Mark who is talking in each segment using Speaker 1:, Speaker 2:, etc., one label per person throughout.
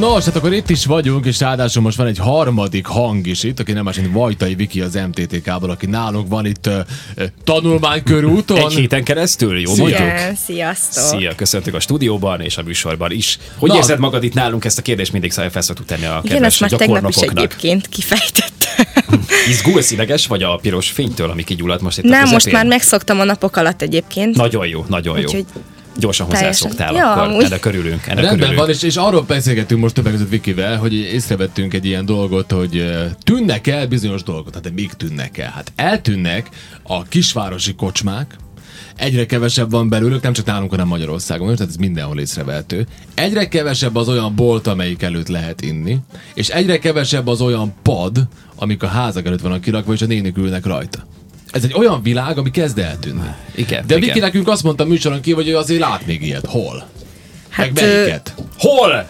Speaker 1: Nos, hát akkor itt is vagyunk, és ráadásul most van egy harmadik hang is itt, aki nem más, mint Vajtai Viki az MTTK-ból, aki nálunk van itt uh, tanulmánykörúton.
Speaker 2: Egy héten keresztül, jó
Speaker 1: Szia.
Speaker 2: mondjuk?
Speaker 3: Igen, sziasztok.
Speaker 2: Szia, köszöntök a stúdióban és a műsorban is. Hogy
Speaker 1: Na.
Speaker 2: érzed magad itt nálunk? Ezt a kérdést mindig fel fel szoktuk tenni a
Speaker 3: Igen,
Speaker 2: kedves
Speaker 3: ezt már tegnap is
Speaker 2: gyakornokoknak.
Speaker 3: egyébként kifejtettem.
Speaker 2: Izgulsz, ideges vagy a piros fénytől, ami kigyulladt most itt a
Speaker 3: Nem, most
Speaker 2: közepén?
Speaker 3: már megszoktam a napok alatt egyébként.
Speaker 2: Nagyon jó, nagyon jó.
Speaker 3: Úgyhogy
Speaker 2: Gyorsan
Speaker 3: teljesen-
Speaker 2: hozzászoktál,
Speaker 3: Ja,
Speaker 2: akkor
Speaker 3: amúgy.
Speaker 2: ennek körülünk. Ennek
Speaker 1: Rendben
Speaker 2: körülünk.
Speaker 1: van, és, és arról beszélgetünk most többek között Vikivel, hogy észrevettünk egy ilyen dolgot, hogy ö, tűnnek el bizonyos dolgot. Hát de még tűnnek el? Hát eltűnnek a kisvárosi kocsmák, Egyre kevesebb van belőlük, nem csak nálunk, hanem Magyarországon, is, tehát ez mindenhol észrevehető. Egyre kevesebb az olyan bolt, amelyik előtt lehet inni, és egyre kevesebb az olyan pad, amik a házak előtt vannak kirakva, és a nénik ülnek rajta. Ez egy olyan világ, ami kezd eltűnni.
Speaker 2: Igen,
Speaker 1: De
Speaker 2: igen.
Speaker 1: Viki nekünk azt mondta műsoron ki, hogy ő azért lát még ilyet. Hol? Hát,
Speaker 3: Hát,
Speaker 1: meg melyiket?
Speaker 2: Hol?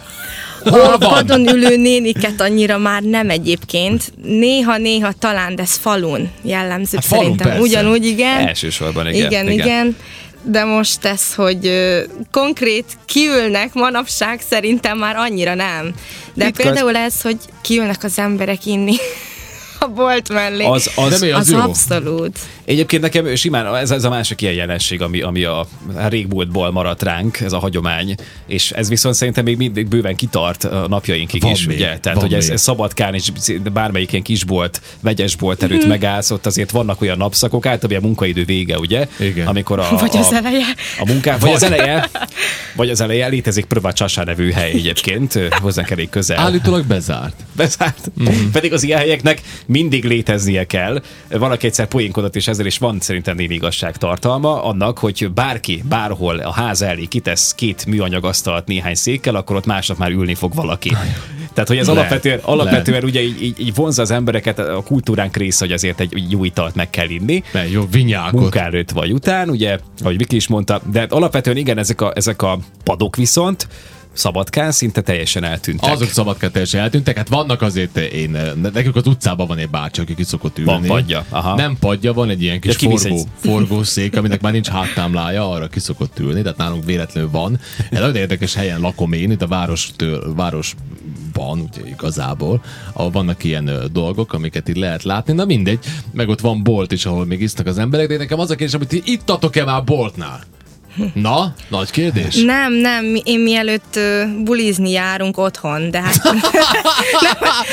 Speaker 1: Hol
Speaker 3: a
Speaker 1: van?
Speaker 3: padon ülő néniket annyira már nem egyébként. Néha-néha talán, de ez falun jellemző
Speaker 1: Hát falun,
Speaker 3: szerintem.
Speaker 1: persze.
Speaker 3: Ugyanúgy, igen.
Speaker 2: Elsősorban, igen.
Speaker 3: igen, igen. De most ez, hogy ö, konkrét kiülnek manapság, szerintem már annyira nem. De
Speaker 2: Mit
Speaker 3: például ez, hogy kiülnek az emberek inni a bolt mellé.
Speaker 2: Az, az,
Speaker 1: De mi
Speaker 3: az
Speaker 1: jó.
Speaker 3: abszolút.
Speaker 2: Egyébként nekem simán ez, ez a másik ilyen jelenség, ami, ami a, a régmúltból maradt ránk, ez a hagyomány, és ez viszont szerintem még mindig bőven kitart a napjainkig
Speaker 1: Van
Speaker 2: is,
Speaker 1: még,
Speaker 2: ugye? Tehát,
Speaker 1: van
Speaker 2: hogy ez,
Speaker 1: még.
Speaker 2: ez szabadkán és bármelyik ilyen kisbolt, vegyesbolt
Speaker 3: Mhm.
Speaker 2: előtt megállsz, ott azért vannak olyan napszakok, általában a munkaidő vége, ugye?
Speaker 1: Igen.
Speaker 2: Amikor a,
Speaker 3: Vagy
Speaker 2: a,
Speaker 3: az eleje.
Speaker 2: a munkán, vagy az eleje, vagy az eleje, létezik Pröva Csasá nevű hely egyébként, ö, hozzánk elég közel
Speaker 1: Állítólag bezárt.
Speaker 2: bezárt. Mm. Pedig az ilyen helyeknek mindig léteznie kell. Valaki egyszer poénkodott, és ezzel is van szerintem némi igazság tartalma annak, hogy bárki bárhol a ház elé kitesz két műanyagasztalt néhány székkel, akkor ott másnap már ülni fog valaki. Tehát, hogy ez
Speaker 1: Lehet.
Speaker 2: alapvetően, alapvetően ugye így, így, így vonza az embereket, a kultúránk része, hogy azért egy jó italt meg kell inni
Speaker 1: Mert jó, vinyákot.
Speaker 2: munka előtt vagy után, ugye, ahogy Viki is mondta, de alapvetően igen, ezek a, ezek a padok viszont Szabadkán szinte teljesen eltűntek.
Speaker 1: Azok szabadkát teljesen eltűntek, hát vannak azért én, eh, nekünk az utcában van egy bácsi, aki ki szokott ülni.
Speaker 2: Van padja, aha.
Speaker 1: Nem padja, van egy ilyen kis
Speaker 2: kivisz
Speaker 1: forgó,
Speaker 2: egy-
Speaker 1: forgószék, aminek már nincs háttámlája, arra ki szokott ülni, tehát nálunk véletlenül van. Egy nagyon érdekes helyen lakom én, itt a várostől, városban, ugye igazából, ahol vannak ilyen ö, dolgok, amiket itt lehet látni, na mindegy, meg ott van bolt is, ahol még isznak az emberek, de nekem az a kérdés, hogy ti ittatok-e már boltnál? Na, nagy kérdés.
Speaker 3: Nem, nem, mi- én mielőtt ö, bulizni járunk otthon, de hát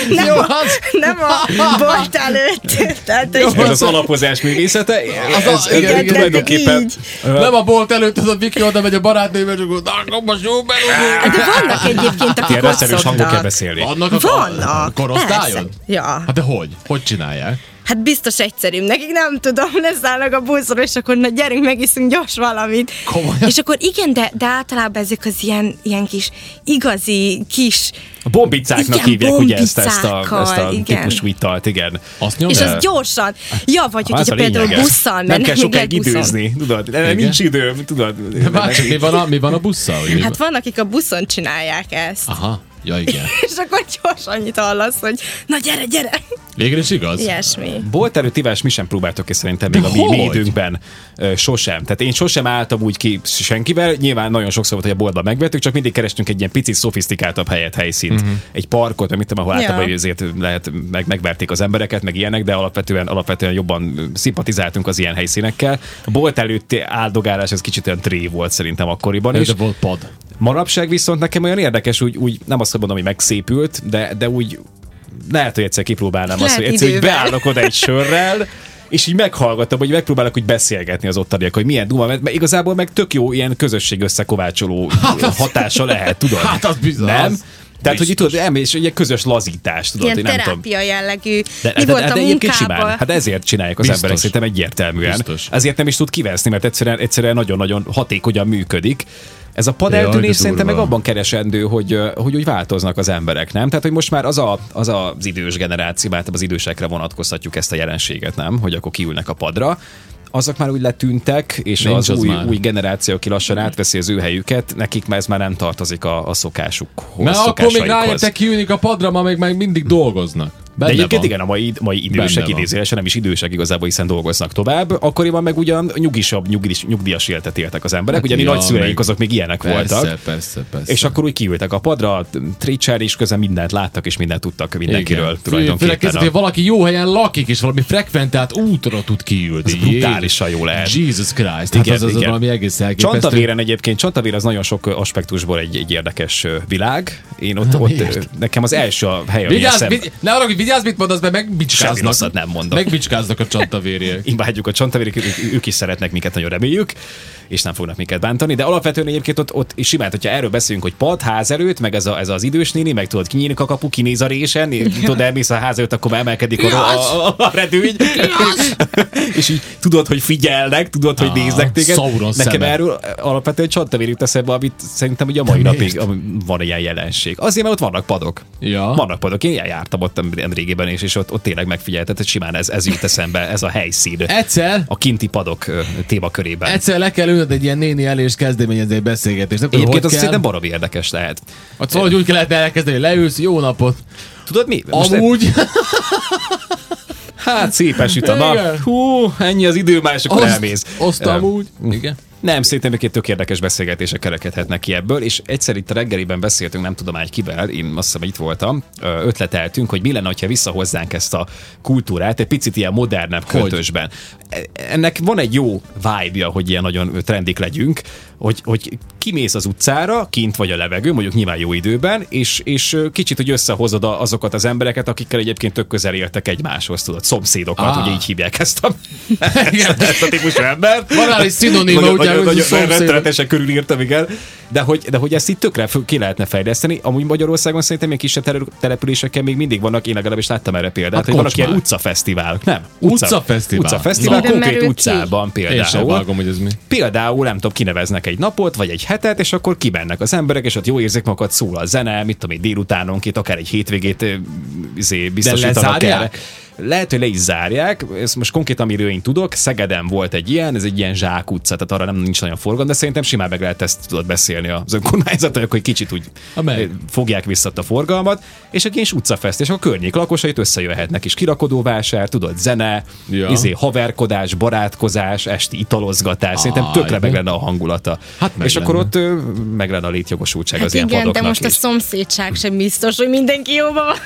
Speaker 1: Nem, Jó, az,
Speaker 3: nem a bolt előtt. Tehát, hogy
Speaker 2: Ez az alapozás művészete?
Speaker 1: Az
Speaker 2: Az
Speaker 1: a-
Speaker 2: ez, ez
Speaker 1: igen,
Speaker 2: igen,
Speaker 1: igen.
Speaker 2: tulajdonképpen...
Speaker 3: Így.
Speaker 1: Nem a bolt előtt, az a Viki oda megy a barátnővel, csak úgy, na, akkor most jó belőle.
Speaker 3: de vannak egyébként, akik
Speaker 2: Ilyen
Speaker 3: ott
Speaker 2: reszelős hangon kell
Speaker 3: szoktak.
Speaker 2: beszélni.
Speaker 1: Annak a
Speaker 3: Vannak,
Speaker 1: korosztályon?
Speaker 3: persze. Ja.
Speaker 1: Hát de hogy? Hogy csinálják?
Speaker 3: Hát biztos egyszerűbb, nekik nem tudom, leszállnak a buszról, és akkor na gyerünk, megiszünk gyors valamit.
Speaker 1: Komolyan?
Speaker 3: És akkor igen, de, de általában ezek az ilyen, ilyen kis igazi kis,
Speaker 2: A bombicáknak
Speaker 3: Igen,
Speaker 2: hívják ugye ezt, ezt a,
Speaker 3: bombicákkal,
Speaker 2: ezt a
Speaker 3: igen.
Speaker 2: típusú italt, igen.
Speaker 1: Azt nyomják?
Speaker 3: és az gyorsan. Ja, vagy
Speaker 2: Hát
Speaker 3: hogyha
Speaker 2: a
Speaker 3: például
Speaker 2: lényeges.
Speaker 3: busszal
Speaker 2: Nem kell
Speaker 3: mennek, még
Speaker 2: sokáig
Speaker 3: egy buszon.
Speaker 2: időzni, tudod? Nem, Nincs időm, tudod?
Speaker 1: De Bácsi, mi van a, mi van a busszal? Hogy mi
Speaker 3: Hát
Speaker 1: van?
Speaker 3: van, akik a buszon csinálják
Speaker 2: Ah.
Speaker 3: ezt.
Speaker 1: Aha, ja igen.
Speaker 3: És akkor gyors annyit hallasz, hogy na gyere, gyere!
Speaker 1: Végre is igaz?
Speaker 3: Ilyesmi.
Speaker 2: Bolt előtt ivás mi sem próbáltok és szerintem még
Speaker 1: De
Speaker 2: a mi, mi
Speaker 1: hogy?
Speaker 2: időnkben ö, sosem. Tehát én sosem álltam úgy ki senkivel, nyilván nagyon sokszor volt, hogy a boltban megvettük, csak mindig kerestünk egy ilyen picit szofisztikáltabb helyet, helyszínt. Mm-hmm. Egy parkot, meg mit tudom, ahol
Speaker 3: Ja.
Speaker 2: általában azért lehet, meg, megverték az embereket, meg ilyenek, de alapvetően, alapvetően jobban ö, szimpatizáltunk az ilyen helyszínekkel. A bolt előtti áldogálás ez kicsit olyan tré volt szerintem akkoriban
Speaker 1: És
Speaker 2: is.
Speaker 1: de volt pad.
Speaker 2: Manapság viszont nekem olyan érdekes, úgy, úgy nem azt mondom, hogy megszépült, de, de úgy lehet, hogy egyszer kipróbálnám azt,
Speaker 3: Lehet
Speaker 2: hogy egyszer így
Speaker 3: idővel.
Speaker 2: beállok oda egy sörrel, és így meghallgatom, hogy megpróbálok úgy beszélgetni az ottaniak, hogy milyen duma, mert mert igazából meg tök jó ilyen közösség összekovácsoló hatása lehet, tudod?
Speaker 1: Hát az bizony,
Speaker 2: Nem?
Speaker 1: az
Speaker 2: Tehát, hogy itt tudod, elmész, és egy közös lazítás, tudod,
Speaker 3: Ilyen
Speaker 2: én nem tudom.
Speaker 3: terápia jellegű.
Speaker 2: De,
Speaker 3: Mi
Speaker 2: de,
Speaker 3: volt
Speaker 2: de,
Speaker 3: a
Speaker 2: de egyébként
Speaker 3: munkában?
Speaker 2: simán. Hát ezért csinálják az
Speaker 1: Biztos.
Speaker 2: Biztos. emberek szerintem egyértelműen.
Speaker 1: Biztos.
Speaker 2: Ezért nem is tud kiveszni, mert egyszerűen, egyszerűen nagyon-nagyon hatékonyan működik. Ez a
Speaker 1: Jaj, de
Speaker 2: padeltűnés
Speaker 1: durva.
Speaker 2: szerintem meg abban keresendő, hogy, ö, hogy úgy változnak az emberek, nem? Tehát, hogy most már az a, az, a, az idős generáció, mert az idősekre vonatkoztatjuk ezt a jelenséget, nem? Hogy akkor kiülnek a padra. Azok már úgy letűntek, és
Speaker 1: Nincs
Speaker 2: az,
Speaker 1: az
Speaker 2: az új,
Speaker 1: már.
Speaker 2: új generáció, aki lassan átveszi az ő helyüket, nekik már ez már nem tartozik a, a szokásukhoz.
Speaker 1: Mert akkor még
Speaker 2: szokásaikhoz.
Speaker 1: rájöttek kiülnik a padra, ma még, még mindig dolgoznak.
Speaker 2: De
Speaker 1: Benne
Speaker 2: egyébként
Speaker 1: van.
Speaker 2: igen, a mai, mai
Speaker 1: Benne
Speaker 2: idősek
Speaker 1: van.
Speaker 2: idézőjelesen nem is idősek igazából, hiszen dolgoznak tovább. Akkoriban meg ugyan nyugisabb, nyugdíjas, nyugdíjas életet éltek az emberek, ugyanis
Speaker 1: ja,
Speaker 2: nagyszüleik
Speaker 1: Hát meg-
Speaker 2: azok még ilyenek
Speaker 1: Persze,
Speaker 2: voltak.
Speaker 1: persze, persze.
Speaker 2: És akkor úgy kiültek a padra, trécser is közben mindent láttak, és mindent tudtak mindenkiről
Speaker 1: Igen. Főleg
Speaker 2: tulajdonképpen.
Speaker 1: kezdett, hogy
Speaker 2: A...
Speaker 1: valaki jó helyen lakik, és valami frekventált útra tud kiülni.
Speaker 2: Ez brutálisan jó lehet.
Speaker 1: Jesus Christ.
Speaker 2: Igen,
Speaker 1: hát az, az
Speaker 2: igen.
Speaker 1: valami egész elképesztő.
Speaker 2: Csantavéren egyébként, Csantavér az nagyon sok ö, aspektusból egy, egy érdekes ö, világ. Én ott,
Speaker 1: Na,
Speaker 2: ott
Speaker 1: miért?
Speaker 2: ö, nekem az első a hely, ami
Speaker 1: Vigyázz,
Speaker 2: eszembe-
Speaker 1: vigy, ne arra, hogy vigyázz, mit mondasz, mert
Speaker 2: Semmi rosszat
Speaker 1: megbicskáznak.
Speaker 2: nem mondok.
Speaker 1: Megbicskáznak a csantavérjek.
Speaker 2: imádjuk a csantavérik, ők, ők is szeretnek minket, nagyon reméljük, és nem fognak minket bántani, de alapvetően egyébként ott, ott is simán, hogyha erről beszélünk, hogy pad, ház előtt, meg ez, a, ez az idős néni, meg tudod, kinyílik a kapu, kinéz a résen, és tudod, elmész a ház előtt, akkor már emelkedik a, a, a, a redőny, és így tudod, hogy figyelnek, tudod, hogy
Speaker 1: Ah,
Speaker 2: néznek téged.
Speaker 1: Sauron
Speaker 2: Nekem
Speaker 1: szeme.
Speaker 2: erről alapvetően csantavér jut eszembe, amit szerintem ugye a mai
Speaker 1: De
Speaker 2: napig
Speaker 1: miért?
Speaker 2: ami- van ilyen jelenség. Azért, mert ott vannak padok.
Speaker 1: Ja.
Speaker 2: Vannak padok. Én jártam ott nem régében, és, és ott, ott tényleg megfigyeltet, hogy simán ez, ez jut eszembe, ez a helyszín
Speaker 1: Egyszer,
Speaker 2: a kinti padok ö, témakörében. Ez
Speaker 1: egyszer le kell ülnöd egy ilyen néni elé, és kezdeményezni egy beszélgetést. Nem tudom,
Speaker 2: Egyébként
Speaker 1: hogy
Speaker 2: az
Speaker 1: kell.
Speaker 2: szerintem baromi érdekes lehet.
Speaker 1: Hát Szóval, hogy úgy kellett elkezdeni, hogy leülsz, jó napot.
Speaker 2: Tudod mi? Most e-
Speaker 1: Amúgy,
Speaker 2: hát szépen süt a nap.
Speaker 1: Igen.
Speaker 2: Hú, ennyi az idő, már és akkor elmész. Hm.
Speaker 1: oszt, oszt
Speaker 2: Ö,
Speaker 1: amúgy. Igen.
Speaker 2: Nem, szerintem egyébként tök érdekes beszélgetések kerekedhetnek ki ebből, és egyszer itt a reggeliben beszéltünk, nem tudom már kivel, én azt hiszem, hogy itt voltam, ö, ötleteltünk, hogy mi lenne, ha visszahozzánk ezt a kultúrát egy picit ilyen modernebb
Speaker 1: Hogy?
Speaker 2: költösben. E- Ennek van egy jó vibe hogy ilyen nagyon trendik legyünk, hogy, hogy kimész az utcára, kint vagy a levegő, mondjuk nyilván jó időben, és, és ö, kicsit, hogy összehozod a- azokat az embereket, akikkel egyébként tök közel éltek egymáshoz, tudod, szomszédokat,
Speaker 1: Ah.
Speaker 2: ugye így hívják ezt a, ezt a típusú embert
Speaker 1: Van rá egy szinoniма,
Speaker 2: nagyon,
Speaker 1: úgy
Speaker 2: nagyon,
Speaker 1: elhúzza
Speaker 2: nagyon, nagyon
Speaker 1: szomszédot.
Speaker 2: rettenetesen körülírtam, igen. De hogy, de hogy ezt itt tökre föl- ki lehetne fejleszteni. Amúgy Magyarországon szerintem ilyen kisebb terül- településeken még mindig vannak, én legalábbis láttam erre példát,
Speaker 1: Hát
Speaker 2: hát hogy vannak
Speaker 1: kocsmák.
Speaker 2: ilyen utcafesztiválok. Nem.
Speaker 1: Utcafesztivál.
Speaker 2: Utcafesztivál,
Speaker 3: Na. De
Speaker 2: konkrét
Speaker 3: merül ki.
Speaker 2: utcában
Speaker 1: Én sem
Speaker 2: például.
Speaker 1: vágom, hogy ez mi.
Speaker 2: Például, nem tudom, kineveznek egy napot, vagy egy hetet, és akkor kimennek az emberek, és ott jó érzik magukat, szól a zene, mit tudom én, délutánonként, akár egy hétvégét ö, izé, biztosítanak
Speaker 1: lezárják?
Speaker 2: erre. Lehet, hogy le is zárják, ezt most konkrétan, amiről én tudok, Szegeden volt egy ilyen, ez egy ilyen zsák utca, tehát arra nem nincs nagyon forgalom, de szerintem simán meg lehet ezt tudod beszélni az önkormányzatok, hogy kicsit úgy
Speaker 1: A meg.
Speaker 2: ö, fogják vissza a forgalmat, és egy ilyen utcafest, és a környék lakosait összejöhetnek, és kirakodóvásár, tudod, zene,
Speaker 1: Ja.
Speaker 2: ja. izé, haverkodás, barátkozás, esti italozgatás, szerintem
Speaker 1: Á,
Speaker 2: tökre meg
Speaker 1: Ah, igen.
Speaker 2: lenne a hangulata.
Speaker 1: Hát meg
Speaker 2: és akkor
Speaker 1: lenne.
Speaker 2: ott ö, meg lenne a létjogosultság
Speaker 3: Hát
Speaker 2: az ilyen
Speaker 3: igen, de
Speaker 2: padoknak
Speaker 3: most a
Speaker 2: is.
Speaker 3: szomszédság sem biztos, hogy mindenki jóban van.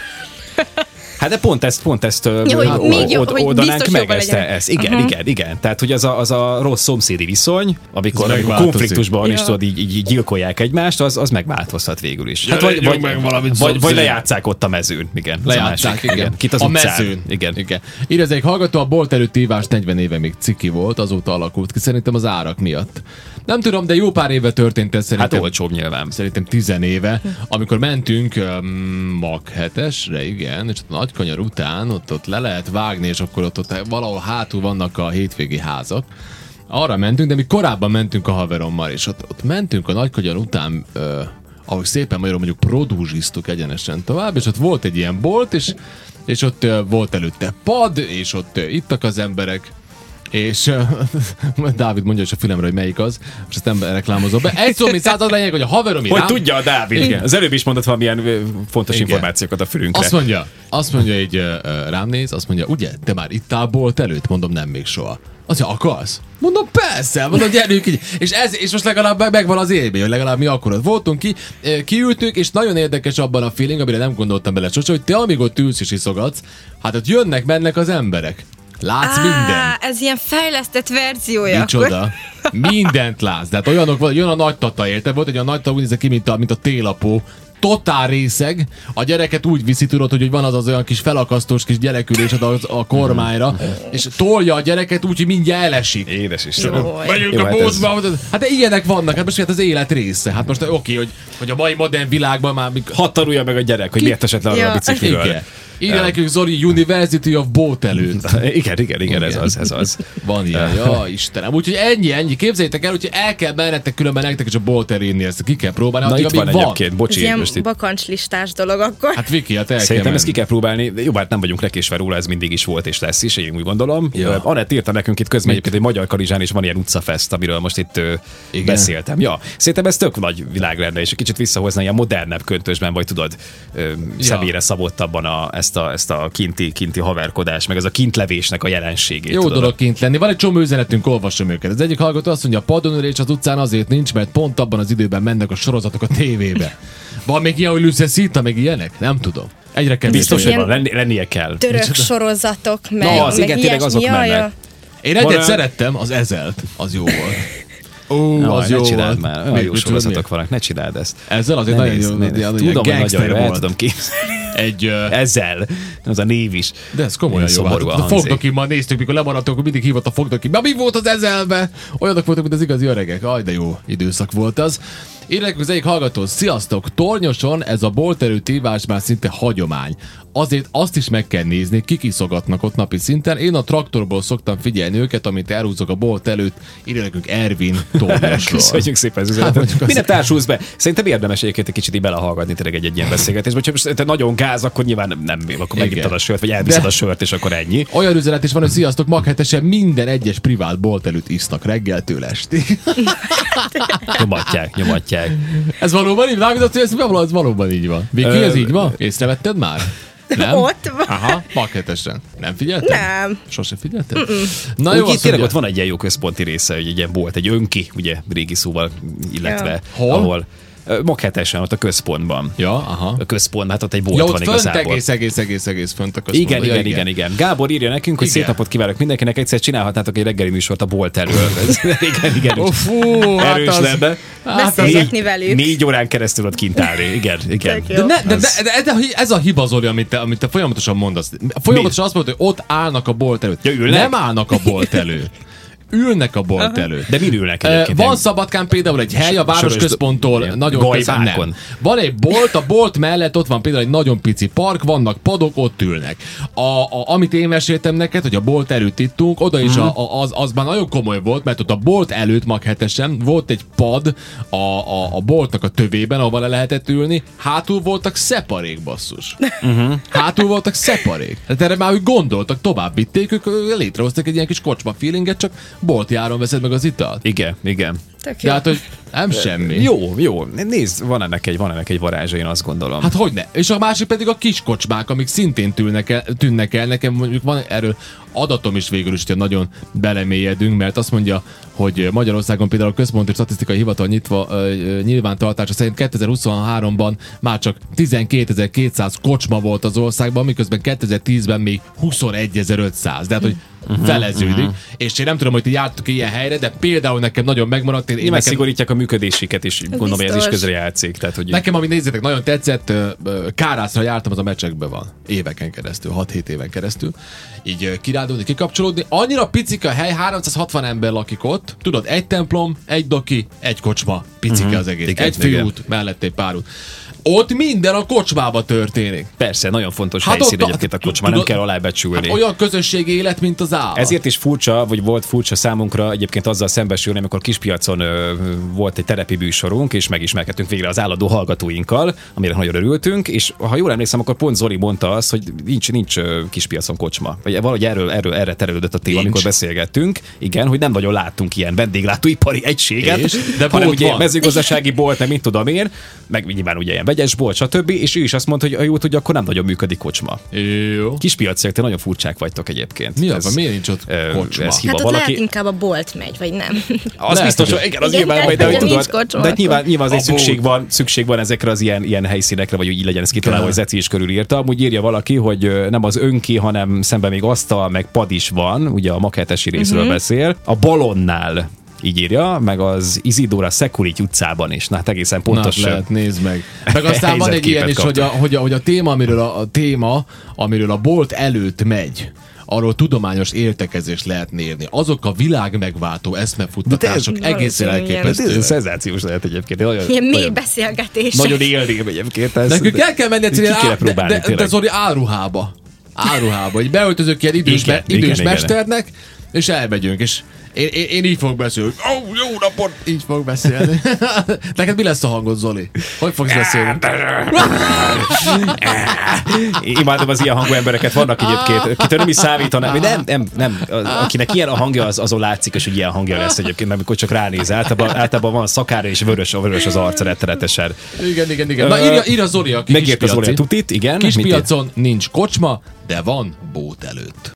Speaker 2: Hát de pont ezt, pont ezt ö,
Speaker 3: Jó, hogy
Speaker 2: ö,
Speaker 3: még jobb, hogy
Speaker 2: oldanánk
Speaker 3: biztos
Speaker 2: meg
Speaker 3: jobban
Speaker 2: ezt,
Speaker 3: legyen.
Speaker 2: ezt. Igen, uh-huh. igen, igen. Tehát, hogy az a, az a rossz szomszédi viszony, amikor, amikor
Speaker 1: megváltozik.
Speaker 2: konfliktusban is
Speaker 3: Ja.
Speaker 2: tudod, így, így, gyilkolják egymást, az, az megváltozhat végül is. Hát vagy,
Speaker 1: Gyere,
Speaker 2: vagy,
Speaker 1: meg valamit
Speaker 2: vagy, vagy
Speaker 1: szomszéd.
Speaker 2: lejátszák ott a mezőn, igen. az a
Speaker 1: Lejátszák,
Speaker 2: másik.
Speaker 1: igen.
Speaker 2: Kit az
Speaker 1: a
Speaker 2: utcán.
Speaker 1: mezőn.
Speaker 2: Igen. Hát
Speaker 1: igen. Írja az egyik hallgató, a bolt előtti ívás 40 éve még ciki volt, azóta alakult ki, szerintem az árak miatt. Nem tudom, de jó pár éve történt ez
Speaker 2: Hát
Speaker 1: szerintem.
Speaker 2: olcsóbb nyilván.
Speaker 1: szerintem 10 éve, amikor mentünk um, Mag 7-esre, igen, és ott a nagykanyar után ott, ott le lehet vágni, és akkor ott, ott valahol hátul vannak a hétvégi házak. Arra mentünk, de mi korábban mentünk a haverommal, és ott, ott mentünk a nagykanyar után, uh, ahogy szépen magyarul mondjuk prodúzsisztuk egyenesen tovább, és ott volt egy ilyen bolt, és, és ott uh, volt előtte pad, és ott uh, ittak az emberek, és uh, Dávid mondja is a fülemre, hogy melyik az, és ezt nem reklámozom be. Egy szó, mint század lényeg, hogy a haverom
Speaker 2: Hogy
Speaker 1: irám,
Speaker 2: tudja a Dávid. Igen. Az előbb is mondott valamilyen ö, fontos
Speaker 1: Igen.
Speaker 2: információkat a fülünkre.
Speaker 1: azt mondja, azt mondja egy uh, uh, rám néz, azt mondja, ugye, te már itt bolt előtt? Mondom, nem még soha. Azt mondja, akarsz? Mondom, persze, mondom, gyerünk így. És, ez, és most legalább meg- megvan az élmény, hogy legalább mi akkor ott voltunk ki, eh, kiültünk, és nagyon érdekes abban a feeling, amire nem gondoltam bele sose, hogy te amíg ott ülsz és iszogatsz, hát ott jönnek, mennek az emberek. Látsz mindent.
Speaker 3: Á, ez ilyen fejlesztett verziója.
Speaker 1: Micsoda?
Speaker 3: Akkor.
Speaker 1: Mindent látsz. De hát olyanok van, jön a nagy tata, érted? Volt egy a nagy tata, úgy nézett ki, mint a, mint a télapó. Totál részeg. A gyereket úgy viszi, tudod, hogy, hogy van az az olyan kis felakasztós kis gyerekülés a, a kormányra, és tolja a gyereket úgy, hogy mindjárt elesik.
Speaker 2: Édes Istenem.
Speaker 3: Jó.
Speaker 1: Megyünk
Speaker 2: Jó,
Speaker 1: a
Speaker 2: hát ez-
Speaker 1: bózba, hát, hát de ilyenek vannak, hát most hát az élet része. Hát most oké, hogy, hogy a mai modern világban már mik-
Speaker 2: Hadd tanulja meg a gyerek, hogy miért esett le arra a
Speaker 3: Ja.
Speaker 2: bicikliről.
Speaker 1: igen. Írja nekünk Zoli University of Boat előtt.
Speaker 2: Igen, igen, igen, ez az, ez az.
Speaker 1: Van ilyen, ja, Istenem. Úgyhogy ennyi, ennyi. Képzeljétek el, hogy el kell mennetek, különben nektek is a bolter inni, ezt ki kell próbálni.
Speaker 2: Na
Speaker 1: addig,
Speaker 2: itt van
Speaker 1: amíg
Speaker 2: egyébként,
Speaker 3: Ez
Speaker 2: bocsi,
Speaker 3: ilyen
Speaker 2: most itt.
Speaker 3: bakancslistás dolog akkor.
Speaker 1: Hát Viki, hát el
Speaker 2: Szerintem
Speaker 1: kell
Speaker 2: ezt ki
Speaker 1: menni.
Speaker 2: kell próbálni, de jó, hát nem vagyunk lekésve róla, ez mindig is volt és lesz is, én úgy gondolom.
Speaker 1: Ja.
Speaker 2: Ja. Anett írta nekünk itt közben egyébként, hogy Magyar Karizsán is van ilyen utcafest, amiről most itt ö,
Speaker 1: Igen.
Speaker 2: beszéltem. Ja, szerintem ez tök nagy világ lenne, és egy kicsit visszahozna ilyen modernebb köntösben, vagy tudod, ö, személyre szabottabban a, ezt ezt a, ezt a kinti, kinti haverkodás, meg ez a kintlevésnek a jelenségét.
Speaker 1: Jó
Speaker 2: tudod?
Speaker 1: dolog kint lenni. Van egy csomó üzenetünk, olvasom őket. Az egyik hallgató azt mondja, a padonülés az utcán azért nincs, mert pont abban az időben mennek a sorozatok a tévébe. Van még ilyen, hogy Lucia Szita, meg ilyenek? Nem tudom. Egyre kevésbé.
Speaker 2: Biztos, hogy
Speaker 1: Én
Speaker 2: van, lenni- lennie kell.
Speaker 4: Török sorozatok, meg,
Speaker 2: Na, az
Speaker 4: meg
Speaker 2: igen, tényleg
Speaker 4: ilyesmi.
Speaker 2: azok
Speaker 4: Ja, ja.
Speaker 2: mennek.
Speaker 1: egyet
Speaker 2: Van olyan-
Speaker 1: szerettem, az ezelt. Az jó volt. Ó,
Speaker 2: Na,
Speaker 1: az
Speaker 2: ne
Speaker 1: jó
Speaker 2: csináld
Speaker 1: volt.
Speaker 2: már, olyan
Speaker 1: Mi-
Speaker 2: jó
Speaker 1: mit tudom
Speaker 2: sorozatok vannak, ne csináld ezt.
Speaker 1: én? Ezzel azért
Speaker 2: Ne
Speaker 1: nagyon
Speaker 2: nézd,
Speaker 1: jó,
Speaker 2: ne
Speaker 1: ilyen-
Speaker 2: nézd.
Speaker 1: ilyen
Speaker 2: Tudom, hogy
Speaker 1: gangster
Speaker 2: nagyon jó, el
Speaker 1: volt.
Speaker 2: tudom képzelni.
Speaker 1: Egy, ö,
Speaker 2: Ezzel, az a név is.
Speaker 1: de ez komolyan
Speaker 2: Ilyen
Speaker 1: jó.
Speaker 2: szomorú
Speaker 1: Hát,
Speaker 2: a
Speaker 1: a
Speaker 2: hangzik.
Speaker 1: fogdokimmal néztük, mikor lemaradtunk, akkor mindig hívott a fogdoki. Na mi volt az ezelbe? Olyanok voltak, mint az igazi öregek. Aj, de jó időszak volt az. Érlek az egyik hallgató, sziasztok! Tornyoson ez a bolterő tívás már szinte hagyomány. Azért azt is meg kell nézni, kik iszogatnak ott napi szinten. Én a traktorból szoktam figyelni őket, amit elhúzok a bolt előtt. Írja nekünk Ervin Tornyosról.
Speaker 2: Köszönjük szépen az
Speaker 1: Hát
Speaker 2: üzenetet.
Speaker 1: mondjuk
Speaker 2: Minek társulsz be? Szerintem érdemes egyébként egy kicsit így belehallgatni tényleg egy, egy ilyen beszélgetésbe. Csak most te nagyon gáz, akkor nyilván nem, nem akkor megittad
Speaker 1: Igen.
Speaker 2: a sört, vagy elviszed
Speaker 1: De-
Speaker 2: a sört, és akkor ennyi.
Speaker 1: Olyan üzenet is van, hogy sziasztok, maghetesen minden egyes privát bolt előtt isznak reggeltől estig.
Speaker 2: Nyomatják, nyomatják.
Speaker 1: Ez valóban így lábított, hogy ez valóban, ez valóban így van. Viki,
Speaker 2: Ö,
Speaker 1: ez így van? Észrevetted már? Nem?
Speaker 3: Ott van.
Speaker 1: Aha, marketesen. Nem figyelted?
Speaker 3: Nem.
Speaker 1: Sose figyelted? Na jó,
Speaker 2: Úgy,
Speaker 1: azt
Speaker 2: tényleg
Speaker 1: mondja,
Speaker 2: ott van egy ilyen jó központi része, hogy egy ilyen bolt, egy önki, ugye régi szóval, illetve
Speaker 3: Ja.
Speaker 1: Hol?
Speaker 2: ahol Ö, Maghetesen, ott a központban.
Speaker 1: Ja, aha.
Speaker 2: A központ, hát ott egy bolt
Speaker 1: Ja,
Speaker 2: van
Speaker 1: ott fönt
Speaker 2: igazából.
Speaker 1: egész, egész, egész, egész fönt a
Speaker 2: Igen,
Speaker 1: központban.
Speaker 2: igen,
Speaker 1: Ja,
Speaker 2: igen, igen, igen. Gábor írja nekünk, hogy
Speaker 1: Igen.
Speaker 2: szép napot kívánok mindenkinek, egyszer csinálhatnátok egy reggeli műsort a bolt elől. Ez- igen, igen.
Speaker 1: Ó, fú, hát
Speaker 2: Erős
Speaker 1: az-
Speaker 2: lenne.
Speaker 1: Hát az-
Speaker 3: Beszélgetni velük.
Speaker 2: Négy órán keresztül ott kint állni. Igen, igen.
Speaker 3: Tök
Speaker 1: de,
Speaker 3: jó.
Speaker 1: ne, de, de, de, de, ez a hiba, Zoli, amit te, amit te folyamatosan mondasz. Folyamatosan azt mondod, hogy ott állnak a bolt előtt.
Speaker 2: Ja, ülnek?
Speaker 1: Nem állnak a bolt előtt. Ülnek a bolt előtt.
Speaker 2: De min ülnek
Speaker 1: Ö,
Speaker 2: egyébként?
Speaker 1: Van Szabadkán például egy hely a városközponttól
Speaker 2: Ilyen
Speaker 1: nagyon közel.
Speaker 2: gajbákon.
Speaker 1: Nem. Van egy bolt, a bolt mellett ott van például egy nagyon pici park, vannak padok, ott ülnek. A, a, amit én meséltem neked, hogy a bolt előtt ittunk, oda is a, a, az, az már nagyon komoly volt, mert ott a bolt előtt maghetesen volt egy pad a, a, a boltnak a tövében, ahol le lehetett ülni, hátul voltak szeparék basszus. Hátul voltak szeparék. Tehát erre már úgy gondoltak, tovább vitték, ők ö, létrehoztak egy ilyen kis kocsma feelinget, csak boltjáron veszed meg az italt.
Speaker 2: Igen, igen.
Speaker 4: Tök jó.
Speaker 1: De hát, hogy nem semmi.
Speaker 2: Jó, jó. Nézd, van ennek egy, van ennek egy varázsa, én azt gondolom.
Speaker 1: Hát hogy ne? És a másik pedig a kis kocsmák, amik szintén tűnnek el, tűnnek el. Nekem mondjuk van erről adatom is végül is, hogy nagyon belemélyedünk, mert azt mondja, hogy Magyarországon például a Központi Statisztikai Hivatal nyitva ö, ö, nyilvántartása szerint 2023-ban már csak 12.200 kocsma volt az országban, miközben 2010-ben még 21.500. De hát, hogy
Speaker 2: Mhm.
Speaker 1: feleződik. És én nem tudom, hogy ti jártok ilyen helyre, de például nekem nagyon megmaradt. Én, én
Speaker 2: Nyilván
Speaker 1: nekem-
Speaker 2: szigorítják a működésüket, és gondolom, hogy ez is
Speaker 4: biztos.
Speaker 2: közre játszik. Tehát, hogy
Speaker 1: Nekem, ami nézzétek, nagyon tetszett, ö, ö, Kárászra jártam, az a meccsekben van. Éveken keresztül, 6-7 éven keresztül. Így ö, kirándulni, kikapcsolódni. Annyira picike a hely, 360 ember lakik ott. Tudod, egy templom, egy doki, egy kocsma. Picike az egész.
Speaker 2: Mhm. Igen,
Speaker 1: egy
Speaker 2: igen.
Speaker 1: főút, mellett egy pár út. Ott minden a kocsmába történik.
Speaker 2: Persze, nagyon fontos
Speaker 1: Hát
Speaker 2: hát helyszín
Speaker 1: ott a-
Speaker 2: egyébként a
Speaker 1: tudod-
Speaker 2: kocsma, nem kell alábecsülni.
Speaker 1: Hát olyan közösségi élet, mint az állat.
Speaker 2: Ezért is furcsa, vagy volt furcsa számunkra egyébként azzal szembesülni, amikor kispiacon ö, volt egy terepi bűsorunk, és megismerkedtünk végre az állandó hallgatóinkkal, amire nagyon örültünk, és ha jól emlékszem, akkor pont Zoli mondta azt, hogy nincs, nincs ö, kispiacon kocsma. Vagy valahogy erről, erről erre terelődött a téma,
Speaker 1: Nincs.
Speaker 2: amikor beszélgettünk. Igen, hogy nem nagyon láttunk ilyen vendéglátóipari egységet,
Speaker 1: És? De
Speaker 2: de hanem
Speaker 1: bolt
Speaker 2: ugye
Speaker 1: van.
Speaker 2: mezőgazdasági bolt, meg mit tudom én, meg nyilván ugye ilyen vegyes bolt, stb. És ő is azt mondta, hogy ha jól tudja, akkor nem nagyon működik kocsma.
Speaker 1: Jó.
Speaker 2: Kispiaciak, te nagyon furcsák vagytok egyébként.
Speaker 1: Mi az
Speaker 2: Ez-
Speaker 1: van? Miért nincs ott
Speaker 2: ö,
Speaker 1: kocsma?
Speaker 2: ez
Speaker 3: Hát
Speaker 2: hiba.
Speaker 3: ott
Speaker 2: Valaki-
Speaker 3: lehet inkább a bolt megy, vagy nem.
Speaker 2: Az
Speaker 1: Lehet,
Speaker 2: biztos,
Speaker 1: hogy-
Speaker 2: hogy igen, az
Speaker 4: Igen,
Speaker 2: nyilván,
Speaker 4: lehet,
Speaker 2: hogy de hogy
Speaker 4: hogy
Speaker 2: tudod.
Speaker 4: nincs kocsma,
Speaker 2: De
Speaker 4: akkor-
Speaker 2: nyilván, nyilván azért
Speaker 1: A bolt.
Speaker 2: szükség van, szükség van ezekre az ilyen, ilyen helyszínekre, vagy úgy így legyen ez kitalálva, hogy
Speaker 1: Kell.
Speaker 2: Zeci is körülírta. Amúgy írja valaki, hogy ö, nem az önki, hanem szemben még asztal, meg pad is van, ugye a maketesi részről beszél. A balonnál így írja, meg az Izidóra Szekurit utcában is. Na, hát egészen pontos.
Speaker 1: Na, lehet, nézd meg. Meg aztán van egy
Speaker 2: Helyzetképet
Speaker 1: ilyen is, hogy a, hogy, a, hogy a téma, amiről a, a téma, amiről a bolt előtt megy, arról tudományos értekezést lehetne írni. Azok a világ megváltó eszmefuttatások
Speaker 3: De ez-
Speaker 1: egészen
Speaker 3: valószínűleg
Speaker 2: Ez,
Speaker 1: elképesztőek.
Speaker 2: ez szenzációs lehet egyébként. Nagyon,
Speaker 3: Ilyen mély
Speaker 2: nagyon,
Speaker 3: beszélgetés.
Speaker 2: nagyon élném egyébként. ezt.
Speaker 1: Nekünk el kell menni
Speaker 2: Ki
Speaker 1: egyszerűen
Speaker 2: kéne
Speaker 1: á, de,
Speaker 2: próbálni,
Speaker 1: de, de
Speaker 2: tényleg.
Speaker 1: Zoli áruhába. Áruhába, hogy beöltözök ilyen idős,
Speaker 2: Igen,
Speaker 1: me, idős
Speaker 2: igen, igen.
Speaker 1: mesternek, és elmegyünk, és Én, én, én így fogok beszélni. Ó, oh, jó napot! Így fogok beszélni. Neked mi lesz a hangod, Zoli? Hogy fogsz beszélni?
Speaker 2: Imádom az ilyen hangú embereket, vannak egyébként, kitől nem is számítanám. Nem, nem, nem. Akinek ilyen a hangja, az, azon látszik, és hogy ilyen hangja lesz egyébként, amikor csak ránéz. Általában, általában van szakára, és vörös, a vörös az arca rettenetesen.
Speaker 1: Igen, igen, igen. Na írja, írja Zoli, aki
Speaker 2: Megért az
Speaker 1: kispiaci.
Speaker 2: olyan tutit, igen. mint
Speaker 1: Kispiacon nincs kocsma, de van bót előtt.